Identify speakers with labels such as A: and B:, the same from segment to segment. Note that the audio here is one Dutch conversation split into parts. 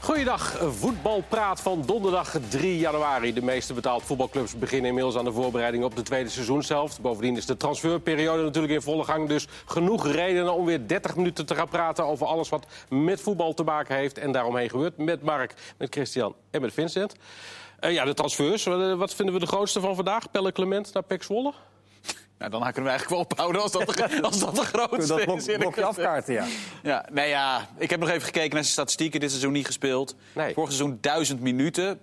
A: Goeiedag, eh, voetbalpraat van donderdag 3 januari. De meeste betaald voetbalclubs beginnen inmiddels aan de voorbereiding op de tweede seizoenshelft. Bovendien is de transferperiode natuurlijk in volle gang. Dus genoeg redenen om weer 30 minuten te gaan praten over alles wat met voetbal te maken heeft. En daaromheen gebeurt met Mark, met Christian en met Vincent. Eh, ja, de transfers. Wat, eh, Wat vinden we de grootste van vandaag? Pelle Clement naar Pek Zwolle?
B: Nou, dan kunnen we eigenlijk wel ophouden als dat de, als dat de grootste
C: Dat blok,
B: is. eerlijk
C: blokje
B: gezegd.
C: afkaarten, ja.
B: Ja, nee, ja, ik heb nog even gekeken naar zijn statistieken. Dit seizoen niet gespeeld.
A: Nee.
B: Vorig seizoen 1000 minuten.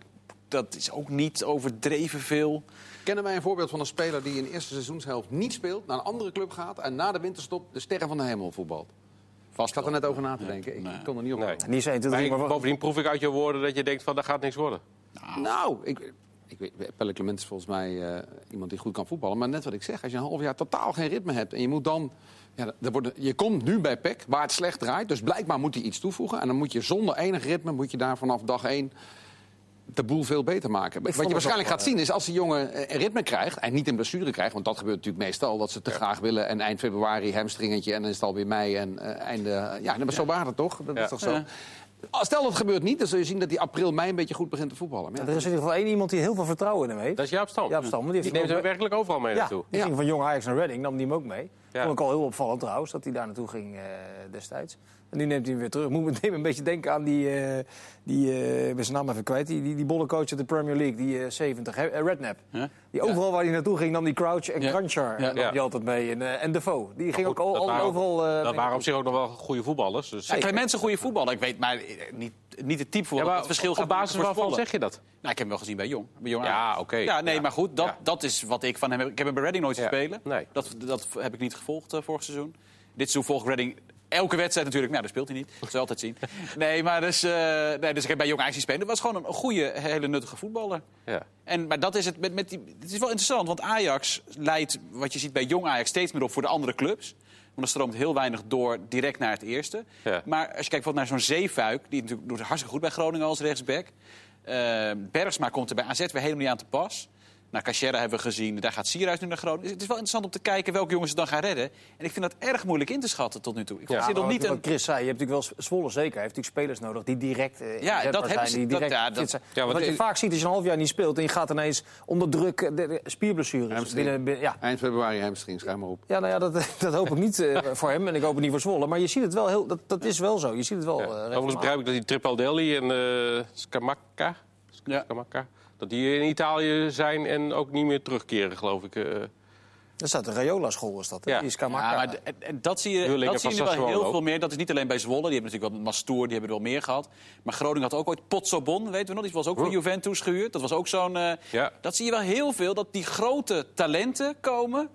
B: Dat is ook niet overdreven veel.
D: Kennen wij een voorbeeld van een speler die in de eerste seizoenshelft niet speelt, naar een andere club gaat en na de winterstop de sterren van de hemel voetbalt? Ik
B: Vast
D: zat er net over na te denken. Ik, ik kon er niet op.
A: Nee.
D: komen.
C: Niet zo 1,
A: Maar
C: 2, 3, maar
A: ik-
C: wacht.
A: bovendien proef ik uit je woorden dat je denkt van daar gaat niks worden.
D: Nou, ik, ik, weet- Pelle Clement is volgens mij eh, iemand die goed kan voetballen. Maar net wat ik zeg, als je een half jaar totaal geen ritme hebt... en je moet dan... Ja, dat- dat wordt, je komt nu bij PEC, waar het slecht draait. Dus blijkbaar moet hij iets toevoegen. En dan moet je zonder enig ritme, moet je daar vanaf dag één... de boel veel beter maken. wat je
C: het
D: waarschijnlijk
C: wel,
D: gaat zien is, als die jongen eh, ritme krijgt... en niet een blessure krijgt, want dat gebeurt natuurlijk meestal... dat ze te graag willen en eind februari hamstringetje... en dan is het alweer mei en eh, einde... Ja, maar zo waren het toch? Dat
A: Ja.
D: is toch zo?
B: Ja.
D: Stel dat gebeurt niet, dan zul je zien dat hij april, mei een beetje goed begint te voetballen. Maar ja,
C: Er is in ieder geval één iemand die heel veel vertrouwen in hem heeft.
A: Dat is Jaap Stam.
C: Jaap Stam, want die
A: Die,
C: heeft
A: neemt
C: hem
A: hem
C: ook-
A: werkelijk overal mee
C: Ja,
A: naartoe.
C: die ging van jong Ajax naar Reading, nam die hem ook mee.
A: Ja.
C: Vond ik al heel opvallend trouwens, dat hij daar naartoe ging eh, destijds. En nu neemt hij hem weer terug. Moet meteen een beetje denken aan die, eh, die eh, ik ben zijn naam even kwijt, die, die, die bollencoach uit de Premier League, die eh, 70, hè, eh, Redknapp.
B: Ja.
C: Die overal waar hij naartoe ging, nam die Crouch en
B: Ja.
C: Cruncher
B: Ja.
C: nam die
A: Ja.
C: altijd mee. En, eh, en Defoe, die ging
A: Goed,
C: ook al,
A: dat
C: al-
A: waren-
C: overal... eh,
A: Dat
C: mee
A: waren op zich ook nog wel goede voetballers. Dus
B: Ja, Clement is een goede voetballer. Ik weet, maar eh, niet, niet het type
A: Ja,
B: voetballer.
A: maar
B: het verschil
A: op
B: gaat
A: basis
B: voor
A: waarvan
B: Zwolle.
A: zeg je dat?
B: Nou, ik heb hem wel gezien bij Jong. Bij Jong
A: Ja,
B: Ajax.
A: oké.
B: Ja, nee,
A: Ja.
B: maar goed, dat,
A: Ja.
B: dat is wat ik van hem heb. Ik heb hem bij Reading nooit
A: Ja.
B: gespeeld.
A: Nee.
B: Dat, dat heb ik niet gevolgd eh, vorig seizoen. Dit seizoen volgt Reading elke wedstrijd natuurlijk. Nou, dat speelt hij niet. Dat zul je altijd zien. Nee, maar dus, eh, nee, dus ik heb bij Jong Ajax gespeeld. Dat was gewoon een goede, hele nuttige voetballer.
A: Ja.
B: En, maar dat is het, met, met die, het is wel interessant, want Ajax leidt, wat je ziet bij jong Ajax, steeds meer op voor de andere clubs. Want er stroomt heel weinig door direct naar het eerste.
A: Ja.
B: Maar als je kijkt bijvoorbeeld naar zo'n Zeefuik, die natuurlijk doet het hartstikke goed bij Groningen als rechtsback. Eh, Bergsma komt er bij AZ weer helemaal niet aan te pas. Nou, Cachera hebben we gezien, daar gaat Sierhuis nu naar Groningen. Dus het is wel interessant om te kijken welke jongens ze dan gaan redden. En ik vind dat erg moeilijk in te schatten tot nu toe. Ik
A: Ja,
B: zit nog
C: wat-
B: niet
C: wat
B: een...
C: Chris zei, je hebt natuurlijk wel Zwolle zeker. Hij heeft natuurlijk spelers nodig die direct eh, inzetbaar
B: dat hebben ze-
C: zijn, die
B: dat-
C: direct
B: ja, dat-
C: fit zijn.
A: Ja, want
C: Wat je
A: ik-
C: vaak ziet is je een half jaar niet speelt... en je gaat ineens onder druk eh, de, de spierblessures.
D: Hamstring.
C: Binnen, binnen- ja.
D: Eind februari hamstring, schrijf maar op.
C: ja, nou ja, dat, dat hoop ik niet eh, voor hem en ik hoop het niet voor Zwolle. Maar je ziet het wel heel... Dat, dat is wel zo. Je ziet het wel
A: Ja.
C: eh,
A: Overigens
C: regelmatig.
A: begrijp ik dat die Tripaldelli en eh Scamacca,
B: Ja.
A: Scamacca, dat die in Italië zijn en ook niet meer terugkeren, geloof ik. eh.
C: Dat staat de Rayola-school, is dat. hè?
A: Ja.
C: Die is Kamaka.
B: Ja, maar d- en, en dat zie je,
A: Huurlingen
B: dat zie je nu
A: van
B: wel heel
A: Sassuolo.
B: veel meer. Dat is niet alleen bij Zwolle. Die hebben natuurlijk wel Mastour, die hebben er wel meer gehad. Maar Groningen had ook ooit Potsobon, weten we nog. Die was ook van Juventus gehuurd. Dat was ook zo'n... eh,
A: Ja.
B: Dat zie je wel heel veel, dat die grote talenten komen.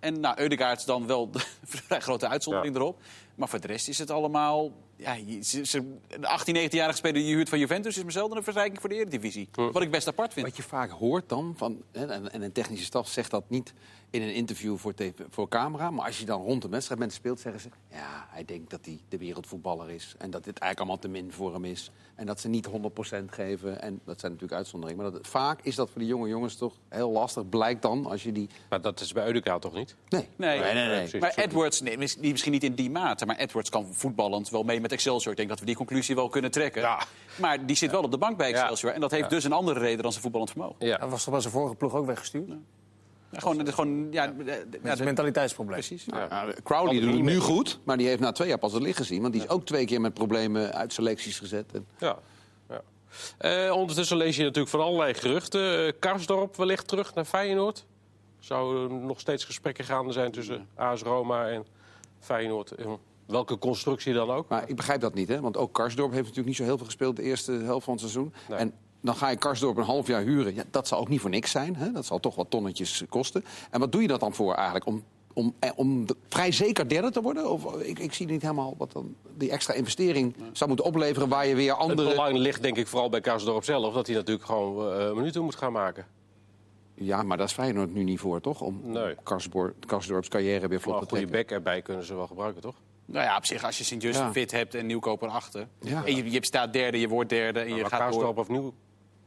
B: En nou, Eudegaard is dan wel de vrij grote uitzondering erop. Maar voor de rest is het allemaal... Ja, je- ze- ze- een 18, 19-jarige speler die je huurt van Juventus... is maar zelden een verrijking voor de Eredivisie. Wat ik best apart vind.
D: Wat je vaak hoort dan, van, hè, en, en een technische staf zegt dat niet in een interview voor, tv voor camera... maar als je dan rond de wedstrijd mensen speelt, zeggen ze... ja, hij denkt dat hij de wereldvoetballer is en dat dit eigenlijk allemaal te min voor hem is... en dat ze niet 100% geven, en dat zijn natuurlijk uitzonderingen. Maar dat, vaak is dat voor die jonge jongens toch heel lastig, blijkt dan als je die...
A: Maar dat is bij Eudekaart toch niet?
D: Nee,
B: Nee,
A: nee, precies.
B: maar Edwards, nee, mis- die misschien niet in die mate, maar Edwards kan voetballend wel mee met Excelsior. Ik denk dat we die conclusie wel kunnen trekken.
A: Ja.
B: Maar die zit wel op de bank bij Excelsior. En dat heeft dus een andere reden dan zijn voetballend vermogen.
A: Ja.
C: Hij was toch bij zijn vorige ploeg ook weggestuurd?
B: Ja, Gewoon, dat is gewoon ja, eh, d- d- ja,
C: Dat is een
B: d-
C: mentaliteitsprobleem.
B: precies.
D: Nou, Crowley doet het nu goed, maar die heeft na twee jaar pas het licht gezien... want die is ook twee keer met problemen uit selecties gezet. En,
A: ja. ja. Eh, ondertussen lees je natuurlijk van allerlei geruchten. Eh Karsdorp wellicht terug naar Feyenoord. Zou er nog steeds gesprekken gaande zijn tussen AS Roma en Feyenoord. In welke constructie dan ook.
D: Maar ik begrijp dat niet, hè? Want ook Karsdorp heeft natuurlijk niet zo heel veel gespeeld de eerste helft van het seizoen. En dan ga je Karsdorp een half jaar huren. Ja, dat zal ook niet voor niks zijn. Hè? Dat zal toch wat tonnetjes kosten. En wat doe je dat dan voor eigenlijk? Om, om, eh, om de- vrij zeker derde te worden? Of, eh, ik, ik zie niet helemaal wat dan die extra investering zou moeten opleveren... waar je weer
A: Het
D: andere...
A: belang ligt denk ik vooral bij Karsdorp zelf. Dat hij natuurlijk gewoon eh, minuten moet gaan maken.
D: Ja, maar daar is Feyenoord nu niet voor, toch? Om
A: Nee.
D: Karsdorp, Karsdorps carrière weer
A: Maar
D: vlot
A: een
D: te
A: goede
D: trekken.
A: bek erbij kunnen ze wel gebruiken, toch?
B: Nou ja, op zich, als je Sint-Just
D: Ja.
B: fit hebt en Nieuwkoper achter.
D: Ja.
B: En je, je staat derde, je wordt derde en je
A: Maar
B: gaat door.
A: Karsdorp of Nieuw...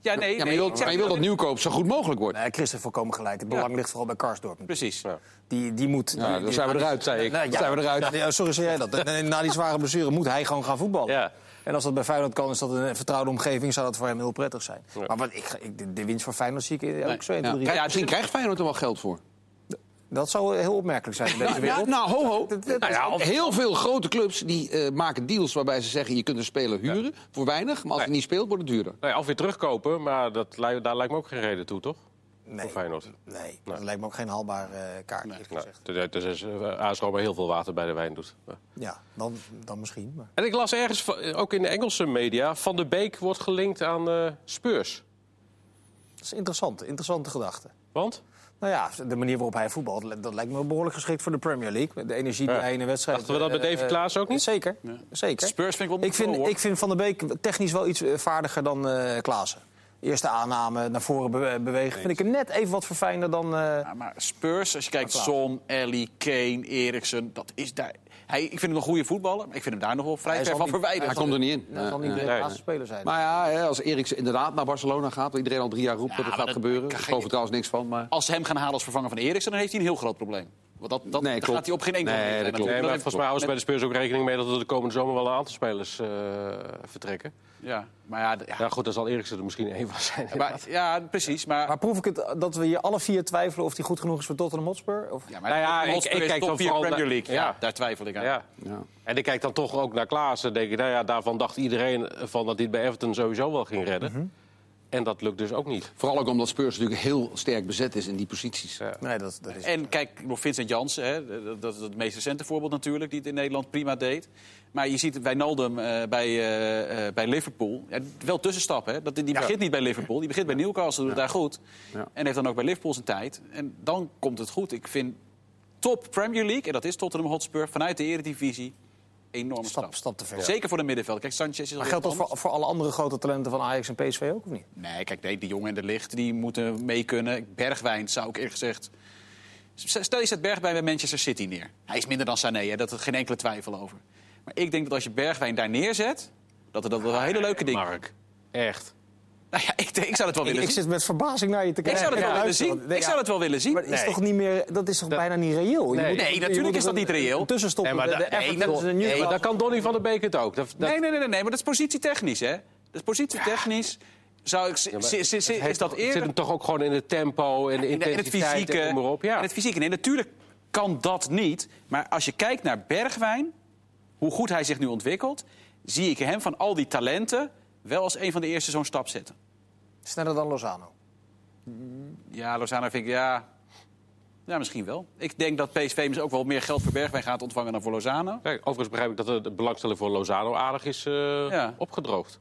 B: Ja, nee,
D: Ja, maar
B: nee,
D: je
B: ik zeg
D: wilt, maar je
B: niet
D: wilt dat
B: het-
D: nieuwkoop zo goed mogelijk wordt.
C: Nee, Chris heeft volkomen gelijk. Het belang ligt vooral bij Karsdorp.
B: Precies.
A: Ja.
C: Die, die moet...
D: Ja,
C: die-
D: dan zijn we eruit, zei ik.
C: Nou, ja.
D: Dan zijn we eruit.
C: Ja, sorry, zei jij dat. Na die zware blessure moet hij gewoon gaan voetballen.
A: Ja.
C: En als dat bij Feyenoord kan, is dat een vertrouwde omgeving, zou dat voor hem heel prettig zijn. Maar wat ik, ik, de, de winst voor Feyenoord zie ik ook
B: Nee.
C: zo 1, 2, 3.
D: Ja, misschien krijgt Feyenoord er wel geld voor.
C: Dat zou heel opmerkelijk zijn in deze
D: Nou,
C: wereld.
D: nou, nou, ho, ho.
C: Dat- dat-
D: Nou ja, of- heel veel grote clubs die eh, maken deals waarbij ze zeggen... je kunt een speler huren voor weinig, maar als hij
A: Nee.
D: niet speelt, wordt het duurder.
A: Nee, Nou of weer terugkopen, maar dat, li- daar lijkt me ook geen reden toe, toch?
C: Nee,
A: Voor Feyenoord.
C: nee, dat lijkt me ook geen haalbaar eh, kaart. eerlijk
A: Nou,
C: gezegd.
A: dat- dat is eh, AS Roma heel veel water bij de wijn doet.
C: Ja, dan, dan misschien. Maar.
A: En ik las ergens, van- eh, ook in de Engelse media... Van de Beek wordt gelinkt aan eh Spurs.
C: Dat is interessant, interessante gedachte.
A: Want?
C: Nou ja, de manier waarop hij voetbalt, dat lijkt me behoorlijk geschikt voor de Premier League. Met De energie die
A: Ja.
C: hij in een wedstrijd...
A: Dachten we dat bij
C: eh,
A: David
C: eh,
A: Klaas ook niet?
C: Zeker, zeker.
B: Spurs vind ik wel moeilijk,
C: ik vind,
B: hoor.
C: ik vind Van der Beek technisch wel iets eh, vaardiger dan eh Klaassen. Eerste aanname, naar voren be- eh, bewegen. Vind ik hem net even wat verfijnder dan... eh,
B: Ja, maar Spurs, als je kijkt,
C: Klaar.
B: Son, Ellie, Kane, Eriksen, dat is daar... Hij, ik vind hem een goede voetballer, maar ik vind hem daar nog wel vrij
C: Hij
B: ver
C: zal
B: van
C: niet-
B: verwijderd.
D: Hij komt er niet in.
C: Dat zal
D: Ja,
C: niet
D: ja.
C: de
A: Nee,
C: laatste speler zijn.
D: Maar ja, hè, als Eriksen inderdaad naar Barcelona gaat... wat iedereen al drie jaar roept
B: Ja,
D: dat het
B: maar
D: gaat
B: dat-
D: gebeuren.
B: kan
D: Ik
B: geen-
D: geloof er trouwens niks van, maar...
B: Als ze hem gaan halen als vervanger van Eriksen, dan heeft hij een heel groot probleem. Want dat, dat,
D: Nee,
B: daar
D: klopt.
B: gaat hij op geen enkele
D: Nee,
B: manier
D: dat
B: zijn.
D: klopt.
A: Nee,
B: Dat
A: maar
B: heeft-
A: volgens mij houden ze bij de Spurs ook rekening mee... dat er de komende zomer wel een aantal spelers eh, vertrekken.
B: Ja, maar ja, d- ja,
A: Ja, goed, dan zal Eriksen er misschien één van zijn.
B: maar, ja precies. Maar,
C: Maar proef ik het eh, dat we hier alle vier twijfelen of hij goed genoeg is voor Tottenham Hotspur? Of...
B: ja, maar
A: Nou ja, ik-
B: Hotspur
A: ik
B: is
A: kijk
B: top
A: dan
B: vier
A: vooral
B: Premier
A: naar-
B: League. Ja,
A: ja.
B: daar twijfel ik aan.
A: Ja.
D: Ja.
A: En ik kijk dan toch ook naar Klaas en denk ik, nou ja, daarvan dacht iedereen van dat dit bij Everton sowieso wel ging redden.
B: Mhm.
A: En dat lukt dus ook niet.
D: Vooral ook omdat Spurs natuurlijk heel sterk bezet is in die posities.
A: Ja.
C: Nee, dat, dat is...
B: En kijk, nog Vincent Jansen, hè, dat- dat is het meest recente voorbeeld natuurlijk, die het in Nederland prima deed. Maar je ziet Wijnaldum eh bij, eh, eh, bij Liverpool, ja, wel tussenstap. Hè? Dat, die begint niet bij Liverpool, die begint bij Newcastle, doet daar goed.
D: Ja.
B: En heeft dan ook bij Liverpool zijn tijd. En dan komt het goed. Ik vind top Premier League, en dat is Tottenham Hotspur, vanuit de eredivisie, enorm stap.
C: Stap, stap te ver.
B: Zeker voor de middenveld. Kijk, Sanchez is
C: Maar
B: al
C: geldt dat voor, voor alle andere grote talenten van Ajax en PSV ook, of niet?
B: Nee, kijk, nee, die jongen en de licht die moeten mee kunnen. Bergwijn zou ik eerlijk gezegd. Stel je zet Bergwijn bij Manchester City neer. Hij is minder dan Sané, hè, dat is geen enkele twijfel over. Maar ik denk dat als je Bergwijn daar neerzet, dat er dat wel hele leuke dingen.
A: Mark, echt.
B: Nou ja, ik, denk- ik zou het wel
C: Ik,
B: willen
C: ik
B: zien.
C: zit met verbazing naar je te
B: Ik
C: kijken.
B: zou het
C: Ja,
B: wel willen
C: luister,
B: zien.
C: want- nee,
B: Ik
C: ja,
B: zou het wel willen
C: maar
B: zien.
C: is
A: Nee.
C: toch niet meer, dat is toch bijna niet reëel? Je
A: Nee. Nee,
C: je
B: natuurlijk
C: moet
B: is
C: er
B: dat
C: een-
B: niet reëel.
C: een Tussenstop.
A: Nee, maar
C: Eh, de,
A: da-
C: de
A: nee,
C: effort
B: dat-
C: tussen de
A: Nee,
C: Newcastle-
A: maar dan kan Donny van der Beek het ook. Dat, dat,
B: Nee, nee, nee, nee, nee, maar dat is positietechnisch, hè? Dat is positietechnisch. Zou ik,
A: maar
B: zi- zi- zi- is dat
A: Het zit
B: eerder?
A: hem toch ook gewoon in het tempo en de
B: In, in het
A: intensiteit
B: fysieke.
A: en noem maar op. Ja.
B: in het fysieke. Nee, natuurlijk kan dat niet. Maar als je kijkt naar Bergwijn, hoe goed hij zich nu ontwikkelt, zie ik hem van al die talenten wel als een van de eerste zo'n stap zetten.
C: Sneller dan Lozano.
B: Ja, Lozano vind ik ja. Ja, misschien wel. Ik denk dat PSV misschien dus ook wel meer geld voor Bergwijn gaat ontvangen dan voor Lozano.
A: Kijk, overigens begrijp ik dat de- de belangstelling voor Lozano aardig is eh,
B: Ja.
A: opgedroogd.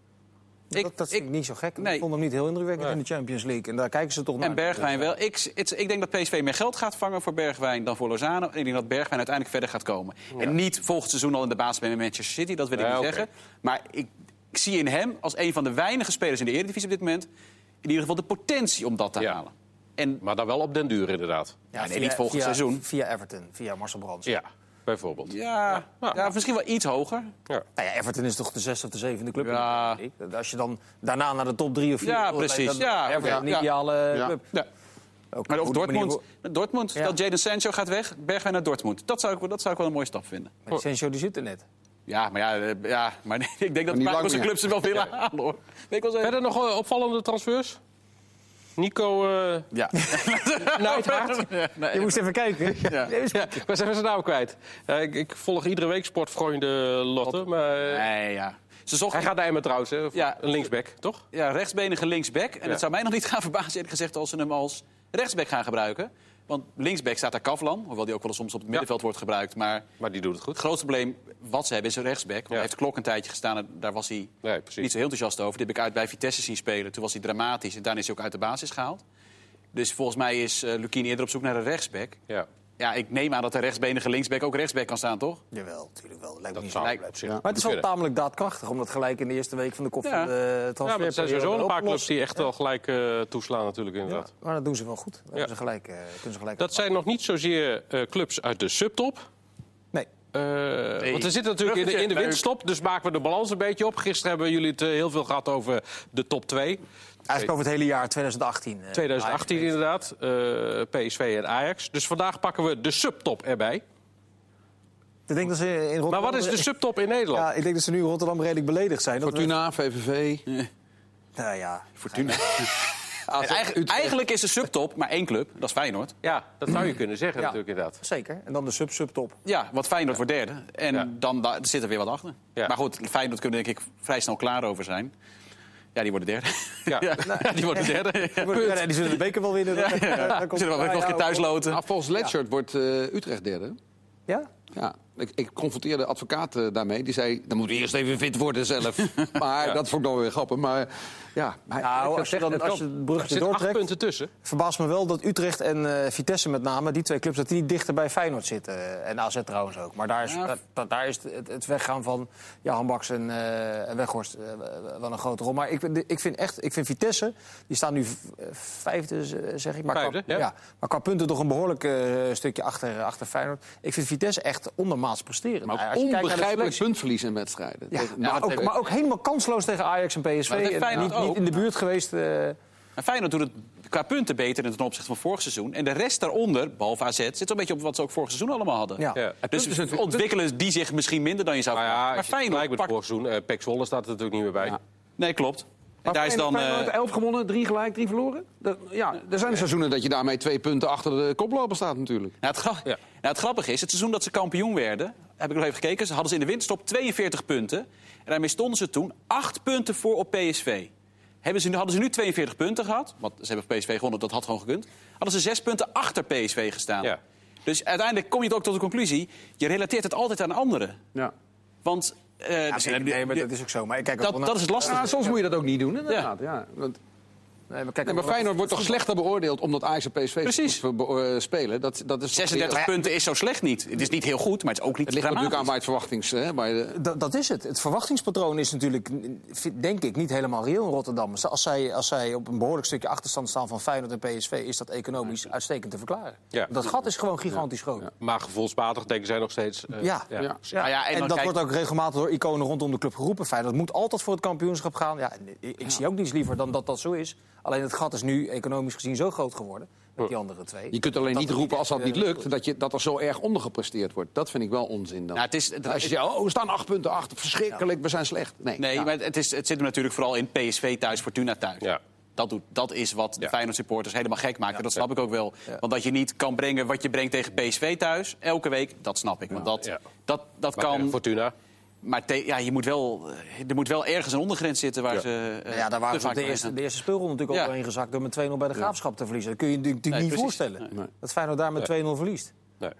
B: Ik-
C: dat, dat vind ik niet zo gek.
B: nee.
C: Ik vond hem niet heel indrukwekkend
A: Nee.
C: in de Champions League. En daar kijken ze toch naar.
B: En Bergwijn wel. Ik, het- ik denk dat PSV meer geld gaat vangen voor Bergwijn dan voor Lozano. En ik denk dat Bergwijn uiteindelijk verder gaat komen. En niet volgend seizoen al in de basis bij Manchester City, dat wil ik
A: Ja,
B: niet
A: oké.
B: zeggen. Maar ik, ik zie in hem als een van de weinige spelers in de Eredivisie op dit moment... in ieder geval de potentie om dat te
A: Ja.
B: halen. En
A: Maar dan wel op den duur inderdaad.
C: Ja,
B: nee, niet volgend
C: via-
B: seizoen.
C: Via Everton, via Marcel Brands.
A: Ja, bijvoorbeeld.
B: ja, ja,
A: Ja.
B: misschien wel iets hoger.
A: Ja.
C: Nou ja, Everton is toch de zesde of de zevende club in
B: Ja.
C: de Premier League? Als je dan daarna naar de top drie of vier...
B: Ja,
C: wil,
B: precies.
C: dan-
B: Ja,
C: Everton
B: ja.
C: een ideale
D: Ja.
C: club.
B: Ja.
C: Ook
B: Maar of
C: goed, manier
B: Dortmund,
C: waarop-
B: Dortmund
C: Ja.
B: dat Jadon Sancho gaat weg, Bergwijn naar Dortmund. Dat zou, ik, dat zou ik wel een mooie stap vinden.
C: Maar Sancho die zit er net.
B: Ja, maar ja, eh, ja, maar ik denk dat
D: niet
B: de
D: lang
B: Engelse
D: meer.
B: clubs hem wel willen halen, hoor. Weet ik wel zeggen.
A: Verder nog eh, opvallende transfers? Nico... eh
B: Ja.
A: Nooit hard.
C: Je moest even kijken.
B: Ja.
C: Nee, is-
A: We zijn zijn naam kwijt. Eh, ik, ik volg iedere week sportvrienden Lotte. Maar, eh,
B: Nee, ja. Ze zochten
A: Hij gaat naar Emmen trouwens, hè? Of
B: Ja.
A: een linksback, toch?
B: ja, rechtsbenige linksback. En
A: Ja.
B: het zou mij nog niet gaan verbazen, eerlijk gezegd, als ze hem als rechtsback gaan gebruiken. Want linksback staat daar Kavlan, hoewel die ook wel eens soms op het middenveld wordt gebruikt. Maar
A: Maar die doet het
B: het
A: goed.
B: grootste probleem wat ze hebben is een rechtsback. Want
A: Ja.
B: Hij heeft Klok een tijdje gestaan en daar was hij
A: Nee, precies.
B: niet zo heel enthousiast over. Die heb ik uit bij Vitesse zien spelen. Toen was hij dramatisch en daarna is hij ook uit de basis gehaald. Dus volgens mij is eh Lukien eerder op zoek naar een rechtsback.
A: Ja.
B: Ja, ik neem aan dat de rechtsbenige linksback ook rechtsback kan staan, toch?
C: Jawel, natuurlijk wel. Lijkt me
A: Nou, Dat
C: niet
A: zou
C: zo.
A: op zich
C: Maar het is wel
A: kunnen.
C: tamelijk daadkrachtig om dat gelijk in de eerste week van de kop
B: Ja.
C: van de
A: Ja, maar
C: transfer.
A: er zijn sowieso een paar clubs die echt wel gelijk eh, toeslaan natuurlijk, inderdaad.
C: Maar dat doen ze wel goed. Dat
A: Ja.
C: hebben ze gelijk, eh, kunnen ze gelijk.
A: Dat zijn nog niet zozeer eh, clubs uit de subtop.
C: Nee.
A: Eh, Want er zit natuurlijk in de, in de
B: Leuk.
A: winststop, dus maken we de balans een beetje op. Gisteren hebben jullie het eh, heel veel gehad over de top 2.
C: Eigenlijk over het hele jaar 2018. eh,
A: 2018
C: Ajax.
A: inderdaad, eh, PSV en Ajax. Dus vandaag pakken we de subtop erbij.
C: De Ik denk dat ze in Rotterdam...
A: Maar Nou, wat is de subtop in Nederland?
C: Ja, ik denk dat ze nu in Rotterdam redelijk beledigd zijn. Dat we-
D: Fortuna, VVV,
C: Nou ja.
B: Fortuna.
D: AZ,
B: Eigen-
D: Utrecht.
B: eigenlijk is de subtop maar één club, dat is Feyenoord.
A: Ja, dat zou je kunnen zeggen
C: Ja.
A: natuurlijk inderdaad.
C: Zeker. En dan de sub-subtop.
B: Ja, want Feyenoord wordt derde. En
A: Ja.
B: dan da- zit er weer wat achter.
A: Ja.
B: Maar goed, Feyenoord kunnen denk ik vrij snel klaar over zijn. Ja, die worden derde.
A: Ja.
B: Ja, die worden derde. Ja, punt.
C: Ja, nee, die zullen de beker wel winnen.
B: Ja, ja.
C: Daar komt-
B: Zullen we wel
C: Ja,
B: nog een keer
C: ja,
B: thuisloten?
D: Ah, volgens Letchert wordt eh, Utrecht derde.
C: Ja?
D: Ja, ik, ik confronteerde advocaat eh, daarmee. Die zei, dan moet hij eerst even fit worden zelf. maar dat vond ik nog weer grappig. Maar ja, hij, ik zou
C: Nou, als je,
D: zeggen,
C: dan,
D: het
C: als je
D: kan.
C: het
A: Er
C: bruggetje
A: zitten acht
C: doortrekt...
A: punten tussen.
C: verbaast me wel dat Utrecht en eh, Vitesse met name, die twee clubs, dat die niet dichter bij Feyenoord zitten. Eh, En AZ trouwens ook. Maar daar is,
B: Ja.
C: dat- dat- daar is het, het weggaan van Johan Baks en, eh, en Weghorst eh, wel een grote rol. Maar ik, ben- ik vind echt, ik vind Vitesse, die staan nu v- eh, vijfde, z- eh, zeg ik. Maar
A: Vijfde,
C: qua,
A: ja.
C: maar qua punten toch een behoorlijk eh, stukje achter, achter Feyenoord. Ik vind Vitesse echt ondermaats presteren.
D: Maar
C: Als
D: ook
C: je kijkt naar de
D: onbegrijpelijk
C: selectie-
D: puntverlies in wedstrijden.
C: Ja,
D: Tegen-
C: maar,
D: Nou,
C: ook, maar ook helemaal kansloos tegen Ajax en PSV.
B: Maar dat heeft
C: En
B: Feyenoord
C: niet, niet
B: ook.
C: in de buurt geweest. eh,
B: Maar Feyenoord doet het qua punten beter ten opzichte van vorig seizoen. En de rest daaronder, behalve AZ, zit een beetje op wat ze ook vorig seizoen allemaal hadden.
C: Ja.
A: Ja.
B: Dus ontwikkelen die zich misschien minder dan je zou
A: Maar
B: verwachten.
A: ja,
B: maar
A: als je het gelijk
B: Feyenoord
A: met
B: pakt...
A: vorig seizoen. eh, Pek Zwolle staat er natuurlijk niet meer bij.
B: Nee, klopt. En daar is dan...
E: Feyenoord
B: eh,
E: 11 gewonnen, 3 gelijk, 3 verloren. Dat- ja, er zijn
D: zijn er seizoenen dat je daarmee twee punten achter de koploper staat natuurlijk.
B: Nou, het, gra-
A: Ja.
B: nou, het grappige is, het seizoen dat ze kampioen werden... heb ik nog even gekeken, ze hadden ze in de winterstop 42 punten. En daarmee stonden ze toen 8 punten voor op PSV. Hebben ze, nu- hadden ze nu 42 punten gehad, want ze hebben op PSV gewonnen, dat had gewoon gekund... hadden ze 6 punten achter PSV gestaan.
A: Ja.
B: Dus uiteindelijk kom je het ook tot de conclusie... je relateert het altijd aan anderen.
D: Ja.
B: Want... eh,
C: ja,
B: dus-
C: zeker. nee, maar dat is ook zo. Maar ik kijk ook
B: dat,
C: wel naar-
B: dat is het lastige.
D: Ja, Ah, soms moet je dat ook niet doen, inderdaad. Ja. Want,
C: Nee, maar kijk
D: nee,
C: ook
D: maar
C: wel-
D: Feyenoord wordt toch slechter beoordeeld omdat Ajax en PSV
B: Precies.
D: goed be- eh, spelen. Dat, dat is toch
B: 36
D: weer-
B: punten is zo slecht niet. Het is niet heel goed, maar het is ook niet
D: Het ligt natuurlijk aan
B: dramatisch.
D: bij het verwachtings... Hè, bij de,
C: Dat, dat is het. Het verwachtingspatroon is natuurlijk, n- vind- denk ik, niet helemaal reëel in Rotterdam. Als zij, als zij op een behoorlijk stukje achterstand staan van Feyenoord en PSV... is dat economisch uitstekend te verklaren.
A: Ja.
C: Dat gat is gewoon gigantisch groot. Ja.
A: Maar gevoelsmatig denken zij nog steeds. eh,
C: Ja.
D: Ja.
B: Nou ja, en
C: en
B: dan
C: dat
B: kijk-
C: wordt ook regelmatig door iconen rondom de club geroepen. Feyenoord moet altijd voor het kampioenschap gaan. Ja, en ik ik zie ook niets liever dan dat dat zo is. Alleen het gat is nu economisch gezien zo groot geworden. Met die andere twee.
D: Je kunt alleen
C: Dat
D: niet
C: het
D: roepen als dat
C: echt,
D: niet
C: eh,
D: lukt, dat, je, dat er zo erg ondergepresteerd wordt. Dat vind ik wel onzin dan.
B: Nou, het is,
D: als je zegt, oh, we staan acht punten achter, verschrikkelijk, we zijn slecht. Nee,
B: Nee,
D: ja.
B: maar het, is, het zit hem natuurlijk vooral in PSV thuis, Fortuna thuis.
A: Ja.
B: Dat, doet, dat is wat de
A: Ja.
B: Feyenoord supporters helemaal gek maken. dat snap ik ook wel. Want dat je niet kan brengen wat je brengt tegen PSV thuis, elke week, dat snap ik. Want dat,
A: Ja.
B: dat, dat
A: Maar, eh,
B: kan.
A: Fortuna.
B: Maar te- ja, je moet wel, eh, er moet wel ergens een ondergrens zitten waar
A: Ja.
B: ze. eh,
C: Nou Ja, daar waren
B: te
C: ze op
B: vaak
C: de
B: bij
C: eerste,
B: zijn.
C: de eerste speelronde natuurlijk ook
B: Ja.
C: doorheen gezakt... door met 2-0 bij de graafschap te verliezen. Dat kun je natuurlijk
B: Nee,
C: niet
B: precies.
C: voorstellen.
D: Nee.
C: Dat Feyenoord daar met 2-0 verliest.
A: Nee.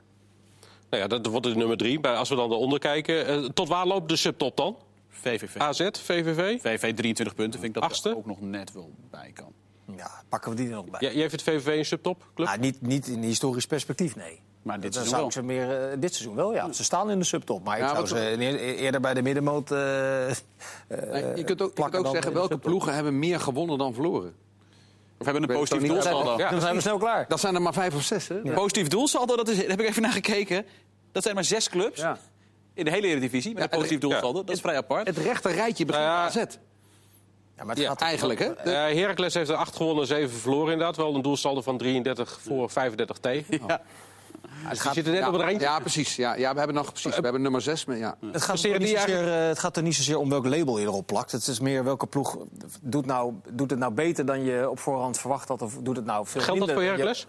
A: Nou ja, dat wordt de nummer drie. Maar als we dan eronder kijken. eh, tot waar loopt de subtop dan?
B: VVV.
A: AZ, VVV?
B: VVV 23 punten vind ik dat
A: Achtste.
B: er ook nog net wel bij kan.
C: Ja, pakken we die er nog bij.
A: J- Jij vindt VVV een subtopclub?
C: Nou, niet, niet in historisch perspectief, nee.
B: Maar dit
C: Dan
B: seizoen
C: zou
B: wel.
C: ik ze meer, eh, dit seizoen wel, ja. Ze staan in de subtop. Maar ik
D: Ja,
C: zou
D: wat
C: ze eer- eerder bij de middenmoot... eh, eh,
D: Nee, je kunt ook, je kunt
C: plakken
D: ook
C: dan
D: zeggen,
C: in de
D: welke
C: subtop.
D: ploegen hebben meer gewonnen dan verloren?
B: Of hebben een
D: weet het
B: positief
D: ook niet.
B: doelsaldo.
A: Ja.
C: Dan zijn we snel klaar.
D: Dat zijn er maar vijf of zes, hè? Ja.
B: Positief doelsaldo, dat is, daar heb ik even naar gekeken. Dat zijn maar zes clubs in de hele Eredivisie met
D: Ja,
B: een positief
A: ja.
B: doelsaldo. Dat is vrij apart.
D: Het rechter rijtje begint
A: Nou ja,
D: AZ.
C: Ja, maar het gaat
D: Eigenlijk, hè? Dus-
A: Eh Heracles heeft er acht gewonnen en zeven verloren inderdaad. Wel een doelsaldo van 33 voor 35 tegen.
B: Ja.
A: Dus die zitten net
D: ja,
A: op het randje.
D: Ja, precies. Ja, ja, we hebben nog precies.
C: Eh,
D: We hebben nummer zes. Maar, ja.
C: Het gaat,
A: Presteren
C: er niet
A: die
C: zozeer, eh, het gaat er niet zozeer om welk label je erop plakt. Het is meer welke ploeg doet, nou, doet het nou beter dan je op voorhand verwacht had. Of doet het nou veel
A: Geldt dat
C: minder
A: voor
C: dan je-
A: Heracles?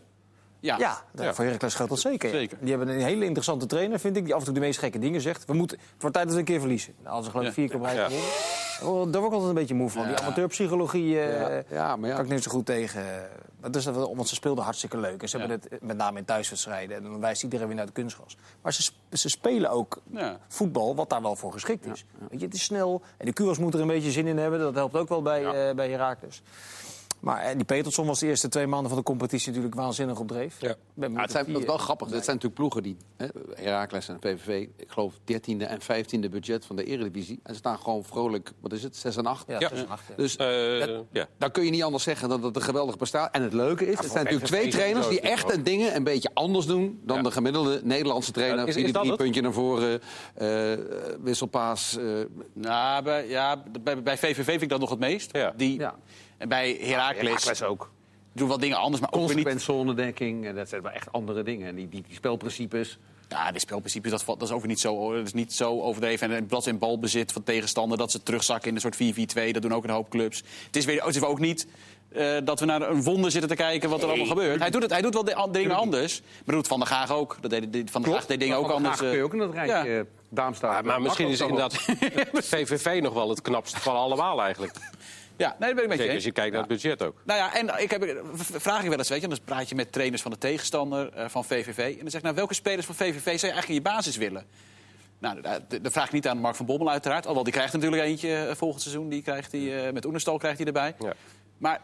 B: Ja.
C: Ja, dat-
A: Ja.
C: voor Heracles geldt dat zeker. ja.
B: Zeker.
C: Die hebben een hele interessante trainer, vind ik, die af en toe de meest gekke dingen zegt. We moeten, het wordt tijd dat we een keer verliezen. Nou, als ze geloof ik
B: Ja.
C: vier keer op rij
A: Ja.
C: gewonnen. Oh, Daar word ik altijd een beetje moe van. Die amateurpsychologie eh,
D: Ja, ja, maar ja.
C: kan ik niet zo goed tegen. Maar Dus, dat wel- want ze speelden hartstikke leuk. En ze hebben het eh, met name in thuiswedstrijden. En dan wijst iedereen weer naar het kunstgras. Maar ze, sp- ze spelen ook
B: Ja.
C: voetbal wat daar wel voor geschikt is. Weet je, het is snel. En de Kuwas moet er een beetje zin in hebben. Dat helpt ook wel bij, eh, bij Heracles. Maar eh, die Peterson was de eerste twee maanden van de competitie natuurlijk waanzinnig op dreef.
A: Ja.
C: Ik ben benieuwd
D: Ja, het
C: of
D: zijn,
C: die,
D: dat is
C: eh,
D: wel grappig. Het zijn natuurlijk ploegen die, hè, Heracles en PVV, ik geloof 13e en 15e budget van de Eredivisie. En ze staan gewoon vrolijk, wat is het, 6 en 8.
C: Ja,
A: Ja.
C: tussen acht, ja.
D: Dus
A: Eh, ja.
D: dan kun je niet anders zeggen dan dat het een geweldig bestaat. En het leuke is, het zijn natuurlijk twee
A: PSV
D: trainers die
A: sowieso.
D: echt een dingen een beetje anders doen dan de gemiddelde Nederlandse trainer.
A: Ja, is-
D: die
A: is
D: de
A: dat
D: drie
A: het?
D: puntje naar voren, eh, wisselpaas. eh,
B: Nou, bij, ja, bij, bij VVV vind ik dat nog het meest.
A: Ja.
B: Die,
D: Ja.
B: En bij Heracles
A: ook.
B: doen wel dingen anders, maar ook weer niet.
D: Consequent zonedekking, en dat zijn wel echt andere dingen. En die, die, die spelprincipes.
B: Ja, de speelprincipes, dat, valt- dat is ook weer niet zo, dat is niet zo overdreven. En dat in balbezit van tegenstander, dat ze terugzakken in een soort 4-4-2. Dat doen ook een hoop clubs. Het is, weer, oh, het is ook niet eh, dat we naar een wonder zitten te kijken wat er allemaal gebeurt. Hij doet, het, hij doet wel de, an- dingen anders. Maar doet Van der Gaag ook. Dat deed, deed- van der Gaag deed dingen ook anders.
E: kun
B: eh.
E: je ook in dat rijtje
B: ja.
E: eh, Darmstadt.
A: Maar misschien is inderdaad het VVV nog wel het knapst van allemaal eigenlijk.
B: ja, nee, dat ben ik met je
A: Zeker
B: eens.
A: als je kijkt naar het budget ook.
B: Nou ja, en ik heb, v- vraag ik wel eens, weet je, dan praat je met trainers van de tegenstander eh, van VVV. En dan zeg ik, nou, welke spelers van VVV zou je eigenlijk in je basis willen? Nou, da- da- dat vraag ik niet aan Mark van Bommel uiteraard. Alhoewel, die krijgt er natuurlijk eentje eh, volgend seizoen. Die krijgt die, eh, met Oenerstal krijgt hij erbij.
A: Ja.
B: Maar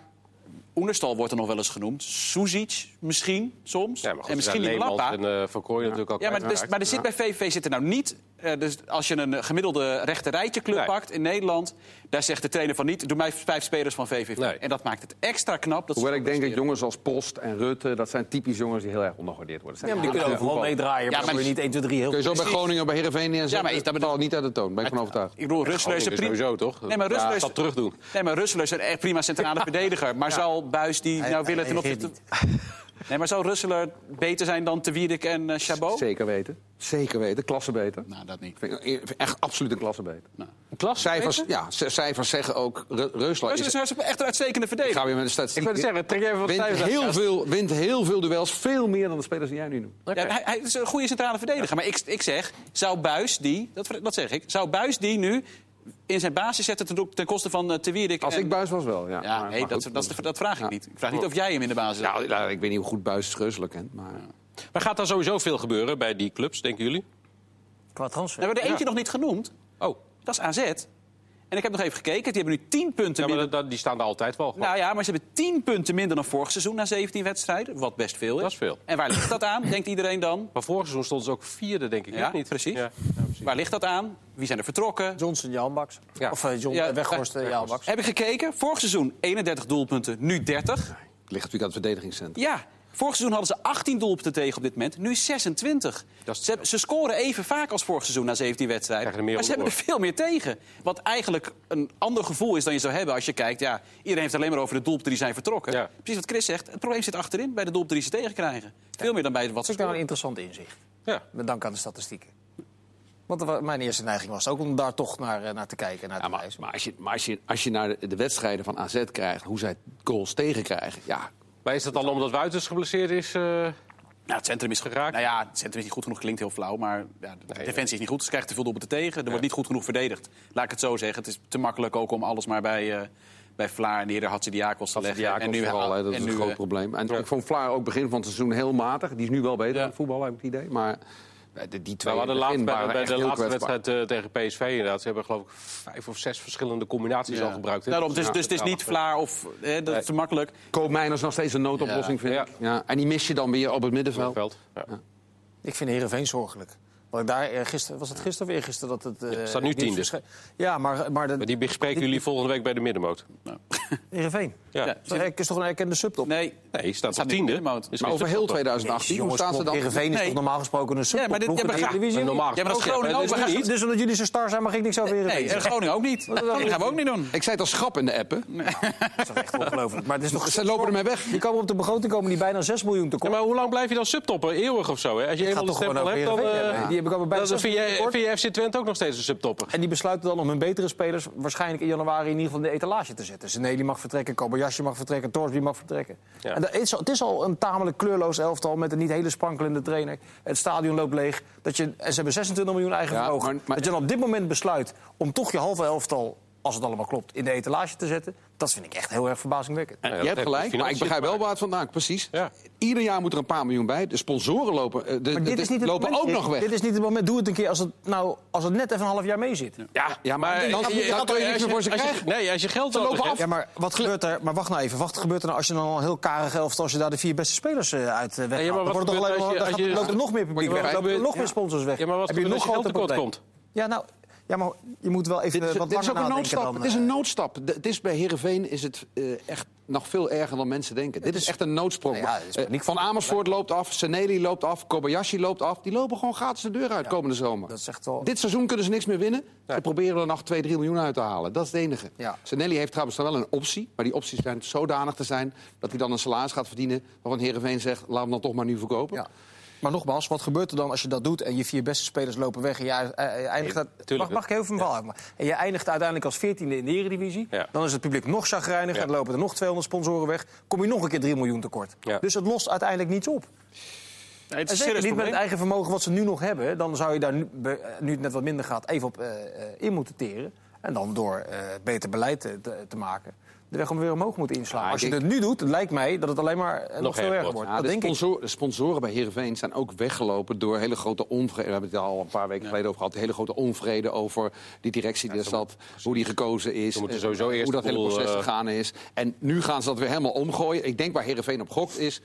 B: Oenerstal wordt er nog wel eens genoemd. Suzic misschien, soms.
A: Ja, maar goed,
B: en misschien
A: die
B: Lappa.
A: En eh, Van Kooijen natuurlijk ook.
B: Ja, maar, dus,
A: uiteraard.
B: maar er zit bij VVV zit er nou niet. eh, dus als je een eh, gemiddelde rechte rijtje club
A: Nee.
B: pakt in Nederland, daar zegt de trainer van niet. Doe mij vijf spelers van VVV.
A: Nee.
B: En dat maakt het extra knap. Dat ze
E: Hoewel ik denk dat
B: presteren.
E: jongens als Post en Rutte... dat zijn typisch jongens die heel erg ondergewaardeerd worden.
C: Ja, maar die kunnen ook wel meedraaien, maar
B: maar
C: dan moet je
B: die-
C: niet 1, 2, 3 heel...
D: Kun je zo bij Groningen, bij Heerenveen neerzetten?
B: Ja, maar is
D: dat
B: dat
D: valt niet uit de toon, ben ik van overtuigd.
B: Ik bedoel, Russelen is
A: Groningen
B: een prima.
A: sowieso, toch?
B: Nee, maar
A: Ja,
B: Russelen is-
A: stap terug doen.
B: Nee, maar Russelen is een echt prima centrale verdediger. Maar zou Buis die
C: Hij-
B: nou
C: hij
B: willen ten
C: reageert
B: opzichte. Nee, maar zou Russeler beter zijn dan Te Wierik en eh, Chabot?
E: Zeker weten. Zeker weten. Klasse beter.
B: Nou, dat niet.
D: Vind ik Echt absoluut een klasse beter.
A: Klas.
D: Cijfers, ja, c- cijfers zeggen ook, Re- Reusler is...
B: Russelen is echt een uitstekende
D: Ik
B: verdediger.
D: ga weer met de statistiek.
E: zeggen, trek even wat
D: Wint heel, veel, wint heel veel duels,
E: Veel meer dan de spelers die jij nu noemt.
B: Ja, hij, hij is een goede centrale verdediger. Maar ik, ik zeg, zou Buis die, dat, dat zeg ik, zou Buis die nu in zijn basis zetten ten, ten koste van eh, Te Wierik?
E: Als
B: en-
E: ik buis was wel, ja.
B: Ja,
E: Maar-
B: nee,
E: maar
B: dat,
E: goed.
B: dat, is de- dat vraag ik niet. Ik vraag niet of jij hem in de basis hebt.
D: Nou, nou, ik weet niet hoe goed Buis Reusler kent, maar...
A: Maar gaat daar sowieso veel gebeuren bij die clubs, denken jullie?
C: Qua
B: We
C: transfer.
B: hebben er eentje nog niet genoemd.
A: Oh,
B: Dat is AZ. En ik heb nog even gekeken. Die hebben nu 10 punten
A: ja, maar
B: minder.
A: dat- dat- die staan er altijd wel. gewoon.
B: Nou ja, maar ze hebben 10 punten minder dan vorig seizoen na 17 wedstrijden. Wat best veel is.
A: Dat is veel.
B: En waar ligt dat aan, denkt iedereen dan?
A: Maar vorig seizoen stonden ze ook vierde, denk ik.
B: Ja,
A: hè? niet
B: precies.
A: Ja.
B: Waar ligt dat aan? Wie zijn er vertrokken?
C: Johnson, Jan Baks.
A: Ja.
C: Of eh, John,
B: Ja,
C: eh, Weghorst, eh, Jan Baks.
B: Heb ik gekeken. Vorig seizoen 31 doelpunten, nu 30.
D: Ligt natuurlijk aan het verdedigingscentrum.
B: Ja, vorig seizoen hadden ze 18 doelpunten tegen op dit moment. Nu 26.
A: Dat is-
B: Ze, hebben- ze scoren even vaak als vorig seizoen na 17 wedstrijden.
A: Krijgen er meer
B: maar ze hebben er
A: onderdoor.
B: veel meer tegen. Wat eigenlijk een ander gevoel is dan je zou hebben als je kijkt... ja, iedereen heeft het alleen maar over de doelpunten die zijn vertrokken.
A: Ja.
B: Precies wat Chris zegt. Het probleem zit achterin bij de doelpunten die ze tegenkrijgen. Veel meer dan bij wat ze
C: Dat is nou een
B: scoren.
C: interessant inzicht.
A: Ja.
C: Met dank aan de statistieken. Want wa- mijn eerste neiging was ook om daar toch naar, eh, naar te kijken. Naar
D: Ja,
C: te
D: maar
C: lezen.
D: maar, als, je, maar als, je, als je naar de, de wedstrijden van AZ kijkt, hoe zij goals tegenkrijgen... Ja,
A: Maar is dat dan omdat Wuiters geblesseerd is? eh?
B: Nou, het centrum is
A: Geraakt.
B: geraakt. Nou ja, het centrum is niet goed genoeg. Klinkt heel flauw, maar ja, de defensie is niet goed. Ze krijgen te veel doelpunten tegen. Er wordt niet goed genoeg verdedigd. Laat ik het zo zeggen. Het is te makkelijk ook om alles maar bij, eh, bij Vlaar en de heren Hatsidiakos te leggen.
D: Hatsidiakos vooral, hè, dat
B: en
D: is
B: nu,
D: een groot
B: eh,
D: probleem. En ik vond Vlaar ook begin van het seizoen heel matig. Die is nu wel beter
B: Ja.
D: aan het voetballen, heb ik het idee. Maar eh, de- die twee
A: Nou, we hadden
D: in
A: laatst
D: het
A: bij,
D: begin
A: bij
D: waren
A: de
D: echt heel
A: laatste
D: kwetsbaar.
A: wedstrijd eh, tegen PSV inderdaad. Ze hebben geloof ik vijf of zes verschillende combinaties al gebruikt. hè?
B: Daarom, dus,
A: Ja.
B: dus het is niet Vlaar of... eh, dat is te makkelijk.
D: Koopmijn is nog steeds een noodoplossing, vind ik. Ja. En die mis je dan weer op het middenveld.
A: Veld. Ja.
C: Ik vind Heerenveen zorgelijk. Want ik daar eh, gisteren, was het gisteren of eergisteren dat het... eh,
A: het staat nu
C: nieuws
A: tiende.
C: verscheen? Ja, maar, maar
A: Maar
C: de,
A: die bespreken jullie volgende week bij de middenmoot.
C: Heerenveen.
A: Ja.
B: Ja.
C: Zo, eh, Is toch een erkende subtop?
B: Nee,
A: Nee, je staat
B: Staat
A: op
B: niet
A: tiende.
B: in de middenmoot.
A: Dus
D: Maar
A: is
D: over
A: het
D: heel
A: top.
D: 2018, hoe
C: Jongens,
D: staan ze
C: kom op,
D: dan?
C: Heerenveen is
B: Nee.
C: toch normaal gesproken een
B: Ja, maar dit-
C: subtopploeg
B: ja,
C: in
B: maar
C: de
B: ga-
C: Eredivisie?
A: En normaal
B: Ja, maar dat
A: gesproken
B: Groningen
A: hebben
B: ook,
A: we
B: we
A: dit
B: gaan-
A: niet.
C: Dus omdat jullie zo star zijn, mag ik niks over Heerenveen
B: nee, en
C: zeggen.
B: Groningen ook niet. Dat gaan we ook niet doen.
D: Ik zei het al schrappen in de appen.
C: Dat is toch echt ongelooflijk. Maar het is toch...
D: Ze lopen ermee weg.
C: Die komen op de begroting komen die bijna 6 miljoen
A: Ja,
C: tekort.
A: maar hoe lang blijf je dan subtopper? Eeuwig of zo, hè? Als je eenmaal
C: ga
A: de
C: toch
A: stempel
C: gewoon
A: hebt,
C: ook
A: dan...
C: Heerenveen hebben.
A: eh,
C: Die heb ik allemaal bijna
A: dan vind
C: zes
A: je,
C: tekort.
A: vind je FC Twente ook nog steeds een subtopper.
C: En die besluiten dan om hun betere spelers waarschijnlijk in januari in ieder geval in de etalage te zetten. Zeneli mag vertrekken, Kobayashi mag vertrekken, Torsby mag vertrekken.
A: Ja.
C: En dat is, al- het is al een tamelijk kleurloos elftal met een niet hele sprankelende trainer. Het stadion loopt leeg. Dat je, en ze hebben 26 miljoen eigen
D: Ja,
C: vermogen.
D: maar- maar-
C: dat je dan op dit moment besluit om toch je halve elftal, als het allemaal klopt, in de etalage te zetten. Dat vind ik echt heel erg verbazingwekkend.
A: Ja,
D: je
A: dat
D: hebt
A: heeft
D: gelijk,
A: met
D: maar ik begrijp wel waar het vandaan precies.
A: Ja.
D: Ieder jaar moet er een paar miljoen bij. De sponsoren lopen, eh, de,
C: Maar
D: de-
C: dit is niet het
D: lopen
C: moment.
D: ook nog weg.
C: Dit is niet het moment. Doe het een keer als het, nou, als het net even een half jaar mee zit.
D: Ja, ja, maar dan,
A: als
D: dan kun je niks meer voor ze
A: als je-
D: krijgen.
A: Nee, als je geld
D: Ze
A: nodig
D: lopen
A: hebt-
D: af.
C: Ja, maar wat gebeurt er? Maar wacht nou even. Wat gebeurt er nou als je dan al een heel karig elftal, als je daar de vier beste spelers eh, uit eh, weghaalt?
A: Ja, maar
C: dan
A: wat
C: wordt het toch
A: gebeurt
C: alleen
A: als
C: maar-
A: je-
C: dan
A: als
C: gaat-
A: je-
C: loopt er nog meer publiek
A: Maar je
C: weg,
A: bent-
C: lopen er nog meer sponsors weg.
A: Ja, maar wat
C: Heb je
A: gebeurt
C: nog
A: als je geld
C: groter
A: tekort
C: probleem?
A: komt?
C: Ja, nou, ja, maar je moet wel even
D: Dit is,
C: eh, wat
D: dit is
C: langer
D: ook een
C: nadenken
D: noodstap.
C: dan,
D: het is
C: eh,
D: een noodstap. De- Het is bij Herenveen is het eh, echt nog veel erger dan mensen denken. Dit is echt een noodsprong.
C: Nou ja, dit is
D: Eh,
C: paniek.
D: Van Amersfoort loopt af, Seneli loopt af, Kobayashi loopt af. Die lopen gewoon gratis de deur uit komende zomer.
C: dat is echt wel-
D: Dit seizoen kunnen ze niks meer winnen. Ze proberen er nog 2, 3 miljoen uit te halen. Dat is het enige.
C: Ja.
D: Seneli heeft trouwens dan wel een optie. Maar die opties zijn zodanig te zijn dat hij dan een salaris gaat verdienen... waarvan Herenveen zegt, laat hem dan toch maar nu verkopen.
C: Ja. Maar nogmaals, wat gebeurt er dan als je dat doet en je vier beste spelers lopen weg en je eh, eh, eindigt... uit-
A: tuurlijk.
C: mag, mag ik heel veel van uitmaken? En je eindigt uiteindelijk als veertiende in de eredivisie.
A: Ja.
C: Dan is het publiek nog chagrijnig
A: Ja.
C: en lopen er nog 200 sponsoren weg. Kom je nog een keer 3 miljoen tekort.
A: Ja.
C: Dus het lost uiteindelijk niets op.
B: Nee, het
C: En
B: is een
C: zeker
B: serieus
C: niet met het
B: probleem.
C: eigen vermogen wat ze nu nog hebben. Dan zou je daar nu, be- eh, nu het net wat minder gaat even op eh, eh, in moeten teren. En dan door eh, beter beleid te, te- te maken. De weg om weer omhoog moeten inslaan.
D: Ah,
C: Als je
D: ik
C: het nu doet, lijkt mij dat het alleen maar eh, nog,
A: Nog
C: veel
A: erger
C: erger
A: wordt.
C: wordt.
D: Ja,
C: dat
D: dus de,
C: denk ik.
D: sponsor- de sponsoren bij Heerenveen zijn ook weggelopen door hele grote onvrede. We hebben het al een paar weken geleden over gehad. Hele grote onvrede over die directie die er zat. Hoe die gekozen is.
A: moeten
D: eh,
A: sowieso eerst
D: hoe dat
A: de
D: hele
A: boel,
D: proces
A: eh,
D: gegaan is. En nu gaan ze dat weer helemaal omgooien. Ik denk waar Heerenveen op gokt is...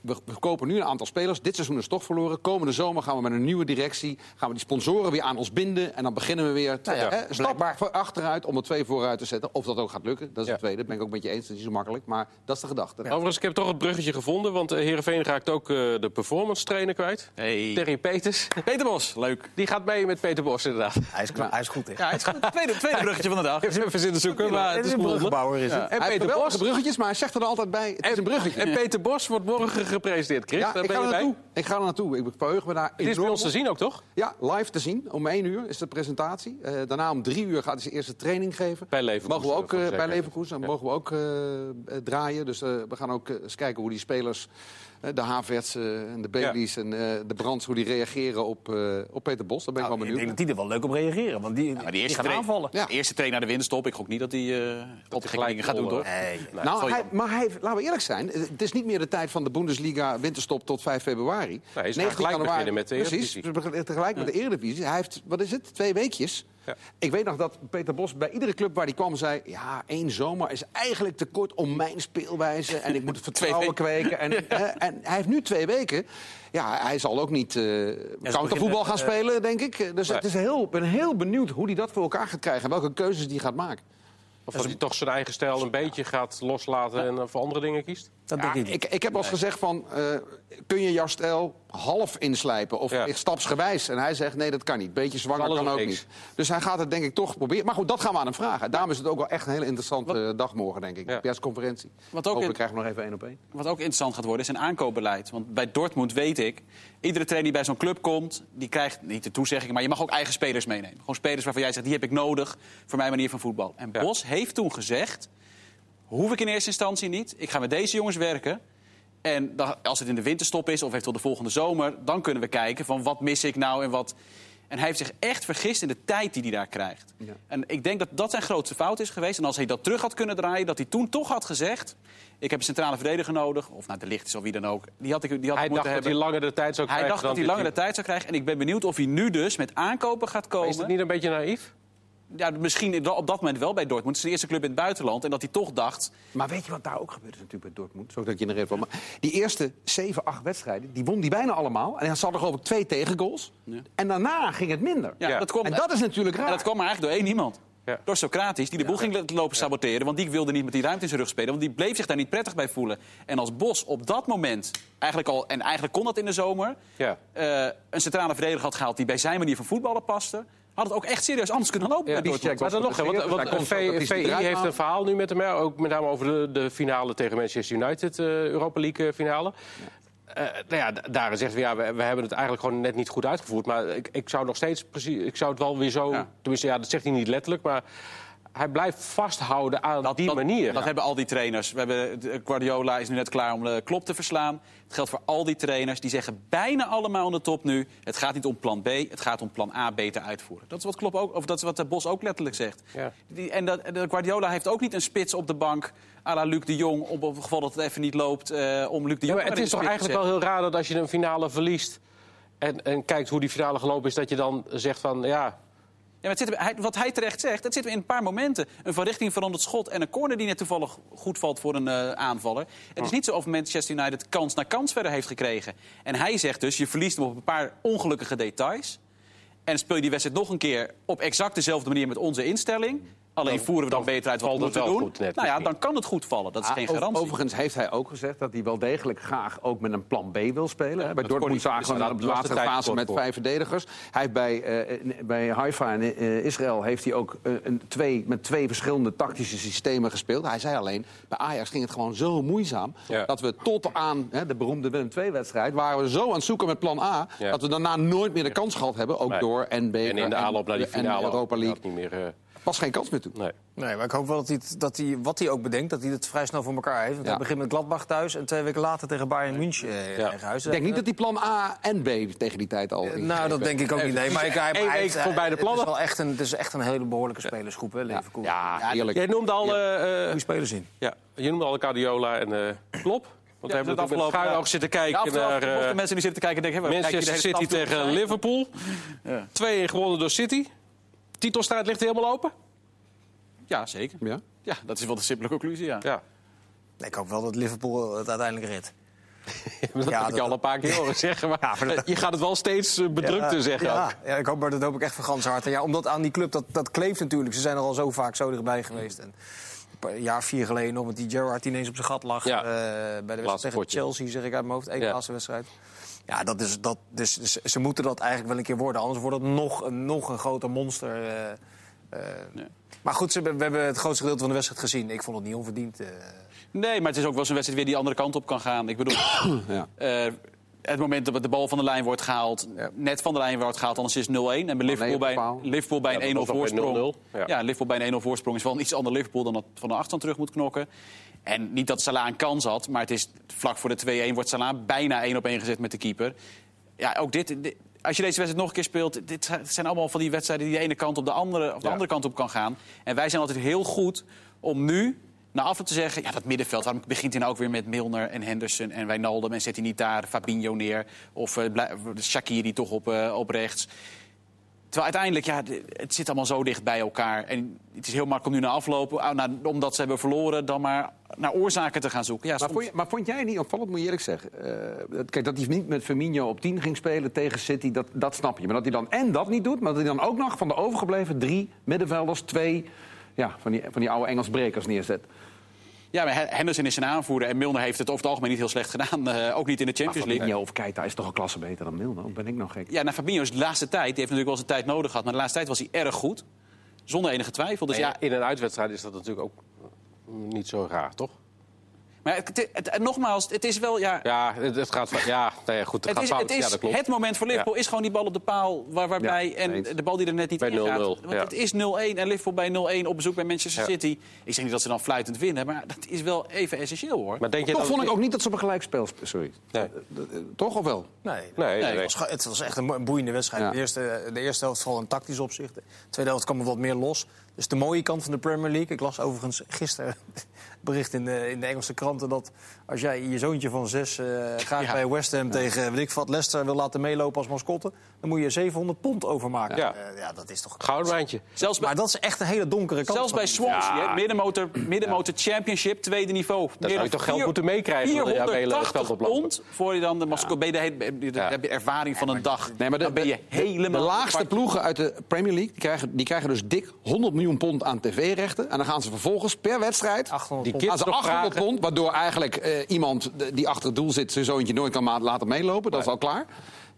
D: We, we kopen nu een aantal spelers. Dit seizoen is toch verloren. Komende zomer gaan we met een nieuwe directie... gaan we die sponsoren weer aan ons binden. En dan beginnen we weer te,
C: Nou ja,
D: hè, een stap
C: blijkbaar.
D: voor achteruit om er twee vooruit te zetten. Of dat ook gaat lukken, dat is
A: Ja.
D: het tweede. Dat ben ik ook met je eens, dat is niet zo makkelijk. Maar dat is de gedachte.
A: Overigens, ik heb toch het bruggetje gevonden, want eh, Heerenveen raakt ook eh, de performance trainer kwijt.
B: Hey.
A: Terry Peters,
B: Peter Bos, leuk.
A: die gaat mee met Peter Bos inderdaad.
C: Hij is, kla- hij is goed in.
B: Ja, het is goed. Tweede, tweede bruggetje van de dag.
A: Even even zitten zoeken, maar het is gevonden.
C: bruggebouwer is het.
A: En
D: hij heeft
A: Peter
D: geweldige
A: Bos,
D: bruggetjes, maar hij zegt er altijd bij... Het is een bruggetje.
A: en Peter Bos wordt morgen gepresenteerd, Chris.
D: Ja,
A: daar
D: ik
A: ben
D: ga, er
A: je bij.
D: naartoe. ik ga er naartoe. Ik verheug me daar
A: Dit is bij
D: enorm
A: ons te
D: op.
A: zien ook, toch?
D: Ja, live te zien. Om 1 uur is de presentatie. Eh, daarna om 3 uur gaat hij zijn eerste training geven.
A: Bij Leverkusen,
D: Mogen we ook,
A: voor de
D: eh, bij
A: zekerheid.
D: Leverkusen. Dan mogen we ook eh, eh, draaien. Dus eh, we gaan ook eh, eens kijken hoe die spelers... eh, de Havertz eh, en de Baileys en eh, de Brands... hoe die reageren op, eh, op Peter Bos. Daar ben ik
C: Nou,
D: wel
C: ik denk
D: benieuwd
C: dat die er wel leuk op reageren. Want die,
B: Maar die eerste
C: gaan
B: train-
C: aanvallen.
D: Ja.
B: Eerste train naar de winststop. Ik gok niet dat hij eh op
A: gelijk
B: dingen gaat doen,
A: rollen.
B: toch?
C: Nee.
D: nou,
B: sorry.
D: hij, maar hij, heeft- laten we eerlijk zijn, eh, het is niet meer de tijd van de Bundesliga winterstop tot 5 februari.
A: gaan gelijk beginnen met de
D: Precies,
A: Eredivisie.
D: we beginnen tegelijk met de Eredivisie. Hij heeft, wat is het, twee weekjes.
A: Ja.
D: Ik weet nog dat Peter Bos bij iedere club waar hij kwam zei... ja, één zomer is eigenlijk te kort om mijn speelwijze... en ik moet het vertrouwen kweken. En, hè, en hij heeft nu twee weken. Ja, hij zal ook niet eh countervoetbal gaan spelen, denk ik. Dus
A: Nee.
D: het is heel, ik ben heel benieuwd hoe hij dat voor elkaar gaat krijgen... en welke keuzes hij gaat maken.
A: Of dat hij toch zijn eigen stijl een beetje gaat loslaten en eh, voor andere dingen kiest?
C: Dat
D: Ja,
C: denk ik niet.
D: ik, ik heb al eens gezegd van, eh, kun je jouw stijl half inslijpen of
A: Ja.
D: stapsgewijs? En hij zegt, nee, dat kan niet. Beetje zwanger
A: Alles
D: kan
A: of
D: ook
A: niks.
D: niet. Dus hij gaat het denk ik toch proberen. Maar goed, dat gaan we aan hem vragen. Daarom is het ook wel echt een hele interessante eh, dag morgen, denk ik.
A: Ja.
D: De persconferentie.
B: Wat ook
D: Hopelijk
B: in-
D: krijgen we nog even één op één.
B: Wat ook interessant gaat worden is zijn aankoopbeleid. Want bij Dortmund weet ik, iedere trainer die bij zo'n club komt, die krijgt niet de toezegging, maar je mag ook eigen spelers meenemen. Gewoon spelers waarvan jij zegt, die heb ik nodig voor mijn manier van voetbal. En
A: Ja.
B: Bos heeft toen gezegd, hoef ik in eerste instantie niet, ik ga met deze jongens werken. En dan, als het in de winterstop is of heeft tot de volgende zomer, dan kunnen we kijken van wat mis ik nou en wat. En hij heeft zich echt vergist in de tijd die hij daar krijgt.
D: Ja.
B: En ik denk dat dat zijn grootste fout is geweest. En als hij dat terug had kunnen draaien, dat hij toen toch had gezegd... ik heb een centrale verdediger nodig, of nou, de licht is of wie dan ook. Die had ik, die had
A: Hij
B: ik
A: dacht
B: moeten
A: dat hij
B: hebben.
A: langer de tijd zou
B: hij
A: krijgen.
B: dacht dat hij
A: dan
B: langere
A: dit
B: tijd zou krijgen. En ik ben benieuwd of hij nu dus met aankopen gaat
A: hij-
B: komen.
A: Is dat niet een beetje naïef?
B: ja, misschien in- op dat moment wel bij Dortmund. Het is de eerste club in het buitenland. En dat hij toch dacht...
D: Maar weet je wat daar ook gebeurd is natuurlijk bij Dortmund? Zo dat je in de reden van. Maar die eerste 7, 8 wedstrijden, die won die bijna allemaal. En dan zat er geloof ik twee tegengoals. En daarna ging het minder.
B: Ja,
A: Ja.
B: Dat komt,
D: En dat is natuurlijk raar.
B: En dat kwam maar eigenlijk door één iemand.
A: Ja.
B: Door Socrates, die de boel ging lopen saboteren. Want die wilde niet met die ruimte in zijn rug spelen. Want die bleef zich daar niet prettig bij voelen. En als Bos op dat moment, eigenlijk al, en eigenlijk kon dat in de zomer...
A: Ja.
B: eh, een centrale verdediger had gehaald die bij zijn manier van voetballen paste... had het ook echt serieus anders kunnen lopen. bij
D: die
B: Dortmund.
D: check was
A: Maar dan nog, hè, want,
D: geblesseerd,
A: want
D: dus daar
A: V-
D: komt ook dat hij
A: VI
D: zich eruit
A: heeft
D: haalt.
A: een verhaal nu met hem. hè, Ook met name over de, de finale tegen Manchester United, eh, Europa League eh, finale. Eh, nou ja, d- daarin zegt hij, ja, we, we hebben het eigenlijk gewoon net niet goed uitgevoerd. Maar ik, ik zou nog steeds precies, ik zou het wel weer zo...
B: Ja.
A: Tenminste, ja, dat zegt hij niet letterlijk, maar... Hij blijft vasthouden aan die
B: dat,
A: manier.
B: Dat hebben al die trainers. We hebben, de- Guardiola is nu net klaar om eh, Klopp te verslaan. Het geldt voor al die trainers. Die zeggen bijna allemaal aan de top nu... het gaat niet om plan B, het gaat om plan A beter uitvoeren. Dat is wat, Klopp ook, of dat is wat eh, Bos ook letterlijk zegt.
A: Ja.
B: Die, en dat, de Guardiola heeft ook niet een spits op de bank... à la Luc de Jong, op op het geval dat het even niet loopt... eh, om Luc de Jong
A: Ja, maar
B: maar in
A: het
B: de
A: is toch
B: spits te
A: eigenlijk wel heel raar dat als je een finale verliest... En, en kijkt hoe die finale gelopen is, dat je dan zegt van... ja,
B: Ja, maar het zit hem- hij- wat hij terecht zegt, dat zit hem in een paar momenten. Een van richting veranderd schot en een corner die net toevallig goed valt voor een eh, aanvaller. Het is niet zo of Manchester United kans na kans verder heeft gekregen. En hij zegt dus, je verliest hem op een paar ongelukkige details. En speel je die wedstrijd nog een keer op exact dezelfde manier met onze instelling... Alleen voeren we dan beter uit wat
A: valt
B: we moeten
A: het wel
B: doen.
A: goed net,
B: nou ja,
A: misschien.
B: dan kan het goed vallen. Dat is geen
D: Ah, over-
B: garantie.
D: Overigens heeft hij ook gezegd dat hij wel degelijk graag ook met een plan B wil spelen. hè. bij
A: dat kon
D: Dortmund
A: hij-
D: zagen we
A: dus
D: dat op de
A: dat was de
D: laatste
A: tijd
D: fase
A: kort
D: met
A: voor.
D: vijf verdedigers. Hij heeft bij, eh, in- bij Haifa in eh, Israël heeft hij ook eh, een twee, met twee verschillende tactische systemen gespeeld. Hij zei alleen, bij Ajax ging het gewoon zo moeizaam...
A: Ja.
D: dat we tot aan hè, de beroemde Willem II-wedstrijd... waren we zo aan het zoeken met plan A...
A: Ja.
D: dat we daarna nooit meer de kans gehad hebben, ook
A: Nee.
D: door NB...
A: En in de aanloop naar die finale
D: Europa
A: ook
D: League.
A: inderdaad niet meer. eh,
D: Was geen kans meer toe.
A: nee.
C: Nee, maar ik hoop wel dat hij, het- dat hij wat hij ook bedenkt, dat hij het vrij snel voor elkaar heeft. Want
D: Ja.
C: hij begint met Gladbach thuis en twee weken later tegen Bayern München eh,
A: Ja.
C: in eigen huis.
D: Ik denk niet dat die plan A en B tegen die tijd al...
C: Nou, dat denk ik ook niet. Nee, maar ik, hij,
A: één
C: hij-
A: week
C: hij-
A: voorbij de
C: Het
A: plannen.
C: is wel echt een, het is echt een hele behoorlijke spelersgroep, hè, Leverkusen.
D: Ja, eerlijk.
A: Jij noemde al, eh, eh,
C: Goeie spelers in.
A: ja, je noemde al Guardiola en eh Klop. Want we
B: Ja,
A: hebben natuurlijk
B: dat
A: met
B: afgelopen-
A: schuin oog zitten kijken
B: Ja,
A: naar
B: afgelopen-
A: eh,
B: mochten mensen die zitten kijken denken... hè, waar kijk je de
A: Manchester
B: hele
A: City
B: stad toe?
A: tegen Liverpool. 2-1 gewonnen door City. Titelstrijd ligt helemaal open.
B: Ja, zeker.
D: Ja?
B: Ja, dat is wel de simpele conclusie, ja.
A: Ja,
C: Nee, ik hoop wel dat Liverpool het uiteindelijk redt.
A: dat
C: Ja,
A: heb ik
C: dat-
A: al een paar keer horen zeggen. Maar
C: Ja, maar dat-
A: je gaat het wel steeds eh, bedrukter
C: Ja,
A: zeggen. ook.
C: Ja, ja ik hoop, maar dat hoop ik echt van gans harte. Ja, omdat aan die club, dat, dat kleeft natuurlijk. Ze zijn er al zo vaak zo dichtbij geweest. En een paar- jaar vier geleden nog, want die Gerrard die ineens op zijn gat lag.
A: Ja.
C: eh, bij de wedstrijd
A: Laatste
C: tegen
A: potje.
C: Chelsea, zeg ik uit mijn hoofd. Eén
A: Ja.
C: laatste wedstrijd. Ja, dat is, dat, dus, dus ze moeten dat eigenlijk wel een keer worden. Anders wordt het nog, een- nog een groter monster. eh, eh. Maar goed, ze, we hebben het grootste gedeelte van de wedstrijd gezien. Ik vond het niet onverdiend. eh.
B: Nee, maar het is ook wel eens een wedstrijd weer die andere kant op kan gaan. Ik bedoel,
D: Ja.
B: eh, het moment dat de bal van de lijn wordt gehaald... net van de lijn wordt gehaald, anders is het 0-1. En bij Liverpool,
D: op de
B: bij,
D: paal.
B: Liverpool bij
A: Ja, dat
B: een 1-0
A: was nog bij
B: voorsprong...
A: 0-0, ja.
B: Ja. Liverpool bij een 1-0 voorsprong is wel een iets ander Liverpool... dan dat van de achterstand terug moet knokken. En niet dat Salah een kans had, maar het is vlak voor de 2-1... wordt Salah bijna 1 op 1 gezet met de keeper. Ja, ook dit... dit- als je deze wedstrijd nog een keer speelt, dit zijn allemaal van die wedstrijden die de ene kant op de andere of de
A: Ja.
B: andere kant op kan gaan. En wij zijn altijd heel goed om nu na afloop te zeggen... ja, dat middenveld, waarom begint hij nou ook weer met Milner en Henderson en Wijnaldum... en zet hij niet daar Fabinho neer of eh, blij- Shaqiri toch op, eh, op rechts. Terwijl uiteindelijk, ja, de- het zit allemaal zo dicht bij elkaar. En het is heel makkelijk om nu na aflopen, ah, nou, omdat ze hebben verloren... dan maar naar oorzaken te gaan zoeken. Ja,
D: Maar
B: soms-
D: vond, je- maar vond jij het niet opvallend, moet je eerlijk zeggen? Eh, dat- kijk, dat hij niet met Firmino op 10 ging spelen tegen City, dat, dat snap je. Maar dat hij dan en dat niet doet, maar dat hij dan ook nog van de overgebleven drie middenvelders... twee ja, van, die, van die oude Engels brekers neerzet.
B: ja, maar Hen- Henderson is zijn aanvoerder en Milner heeft het over het algemeen niet heel slecht gedaan. eh, ook niet in de
D: Maar
B: Champions League.
D: Firmino of Keita is toch een klasse beter dan Milner? Ben ik nou gek?
B: Ja, nou, Fabinho is de laatste tijd. Die heeft natuurlijk wel zijn tijd nodig gehad. Maar de laatste tijd was hij erg goed. Zonder enige twijfel. Dus ja,
A: In een uitwedstrijd is dat natuurlijk ook mm, niet zo raar, toch?
B: maar het, het- het- en nogmaals, het is wel. Ja,
A: Ja, het, het gaat. Ja, nou ja, goed, het,
B: het,
A: gaat
B: is,
A: fout.
B: het, is
A: ja, dat klopt.
B: het moment voor Liverpool is gewoon die bal op de paal. Waar, waarbij,
D: Ja,
B: en
D: eens.
B: de bal die er net niet
A: Bij
B: in gaat.
A: 0-0,
B: Want
A: ja.
B: het is 0-1 en Liverpool bij 0-1 op bezoek bij Manchester
A: Ja.
B: City. Ik zeg niet dat ze dan fluitend winnen. Maar dat is wel even essentieel hoor.
A: Maar denk je
D: Toch
A: dat-
D: vond ik ook niet dat ze op een gelijkspel... sp- Sorry.
A: Nee.
D: Eh, Toch of wel?
C: Nee,
A: Nee, nee,
B: Nee,
A: nee.
C: Het was, het was echt een mo- een boeiende wedstrijd.
D: Ja.
C: De, eerste, eh, de eerste helft vooral in tactisch opzicht. De tweede helft kwam er wat meer los. Dus de mooie kant van de Premier League. Ik las overigens gisteren het bericht in de, in de Engelse kranten... dat als jij je zoontje van zes eh, graag
B: Ja.
C: bij West Ham tegen eh, weet ik, wat, Leicester wil laten meelopen als mascotte... dan moet je 700 pond overmaken.
A: Ja.
C: Ja, ja dat is toch...
A: Goudwijntje.
B: zelfs bij,
C: Maar dat is echt een hele donkere kant.
B: zelfs
C: van
B: bij
C: die-
B: Swansea, hè, middenmotor, middenmotor Championship, tweede niveau.
A: zou
B: Meer
A: je
B: dan
A: toch geld
B: vier-
A: moeten meekrijgen, wil je daar bij hele
B: 480
A: veldoplopen.
B: pond voor je dan de mascotte. Ben je de, hele- de- de-
A: Ja.
B: heb je ervaring van een dag.
D: Nee, maar de,
B: dan ben je
D: de-
B: helemaal...
D: de laagste ploegen uit de Premier League die krijgen, die krijgen dus dik 100 miljoen pond aan tv-rechten. En dan gaan ze vervolgens per wedstrijd
A: Die
C: 800 pond.
A: kind-
D: Aan zijn
A: nog
D: 800
A: vragen?
D: pond, waardoor eigenlijk eh, iemand de- die achter het doel zit... zijn zoontje nooit kan ma- laten meelopen. Dat is al klaar.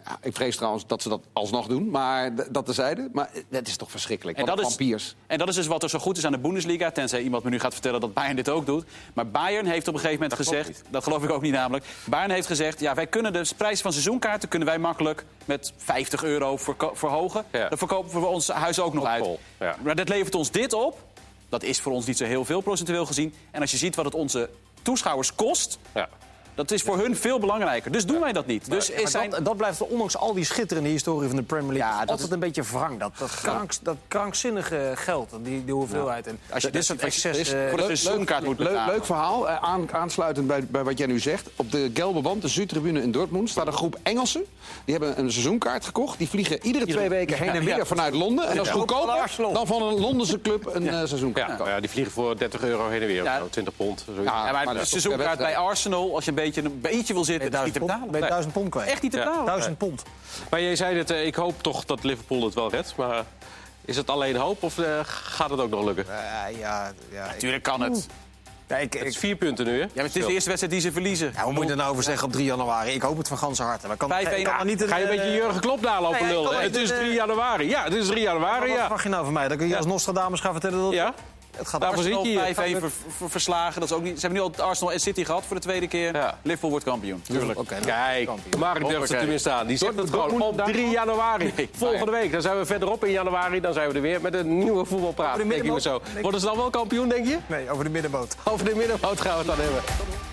D: Ja, ik vrees trouwens dat ze dat alsnog doen, maar d- dat tezijde. Maar eh, dat is toch verschrikkelijk, wat
B: dat
D: vampiers.
B: Is, en dat is dus wat er zo goed is aan de Bundesliga. Tenzij iemand me nu gaat vertellen dat Bayern dit ook doet. Maar Bayern heeft op een gegeven moment gezegd... dat geloof ik ook niet namelijk. Bayern heeft gezegd, ja, wij kunnen de prijs van seizoenkaarten... kunnen wij makkelijk met 50 euro verko- verhogen.
A: Ja.
B: Dan verkopen we ons huis ook nog uit.
A: vol, ja.
B: Maar dat levert ons dit op. Dat is voor ons niet zo heel veel procentueel gezien. En als je ziet wat het onze toeschouwers kost...
A: Ja.
B: dat is voor hun veel belangrijker. Dus doen wij dat niet. Dus
C: Maar
B: is zijn...
C: dat, dat blijft ondanks al die schitterende historie van de Premier League...
D: Ja, dat
C: altijd
D: is-
C: een beetje wrang, dat, dat, kranks- dat krankzinnige geld, die, die hoeveelheid. En
B: Als je
C: dit
B: dat-
C: soort
B: als je-
C: excess...
B: er is-
C: eh,
B: voor de seizoenkaart moet
D: leuk,
B: betalen.
D: leuk verhaal, eh, aan- aansluitend bij, bij wat jij nu zegt. Op de gelbe wand, de Zuidtribune in Dortmund, staat een groep Engelsen. Die hebben een seizoenkaart gekocht. Die vliegen iedere twee weken heen en weer vanuit Londen. En dat is goedkoper dan van een Londense club een eh, seizoenkaart
A: Ja,
D: kopen.
A: ja, die vliegen voor 30 euro heen en weer. of
B: Ja.
A: zo, 20 pond. zoiets.
D: Ja.
B: Ja, maar,
D: maar
B: de
D: dat is toch
B: seizoenkaart bij
D: per wedstrijd.
B: Arsenal, als je een beetje, een beetje wil zitten, dat is niet te betalen.
C: duizend pond, ben je
B: Nee.
C: duizend pond kwijt.
B: Echt niet te betalen.
C: Duizend pond.
A: Maar jij zei het, eh, ik hoop toch dat Liverpool het wel redt. Maar Is het alleen hoop of eh, gaat het ook nog lukken?
C: Eh, ja, ja, ik,
B: Natuurlijk kan het.
C: ja, ik,
A: Het is
C: ik,
A: vier punten nu, hè?
B: Ja, maar het is de eerste wedstrijd die ze verliezen.
C: ja, hoe moet je er nou over zeggen op 3 januari? Ik hoop het van ganse harte. Maar kan, eh,
B: 5-1
C: ik kan er niet
A: Ga je een beetje Jurgen Klopp nalopen
C: Nee, Nou ja, ik
A: lullen?
C: kan
A: Het
C: even
A: is
C: de-
A: 3 januari. Ja, het is 3 januari,
C: Wat
A: ja.
C: verwacht je nou van mij? Dan kun je als Nostradamus gaan vertellen dat
A: Ja,
C: het gaat
A: daarvoor
C: hard.
A: zit je
B: Arsenal 5-1
A: hier.
B: ver- ver- verslagen. Dat is ook niet, ze hebben nu al Arsenal en City gehad voor de tweede keer.
A: Ja.
B: Liverpool wordt kampioen.
A: Tuurlijk.
C: Oké, nou,
A: Kijk,
C: kampioen.
A: Mark durft het
B: Hoppakee.
A: tenminste aan. Die zegt het
E: Dortmund
A: gewoon op
E: daar
A: 3 januari. Volgende week. Dan zijn we verderop in januari. Dan zijn we er weer met een nieuwe voetbalpraat.
C: Over de
A: Denk ik maar zo.
C: middenmoot.
A: Worden ze dan wel kampioen, denk je?
C: Nee, over de middenboot.
A: Over de middenmoot gaan we het dan hebben.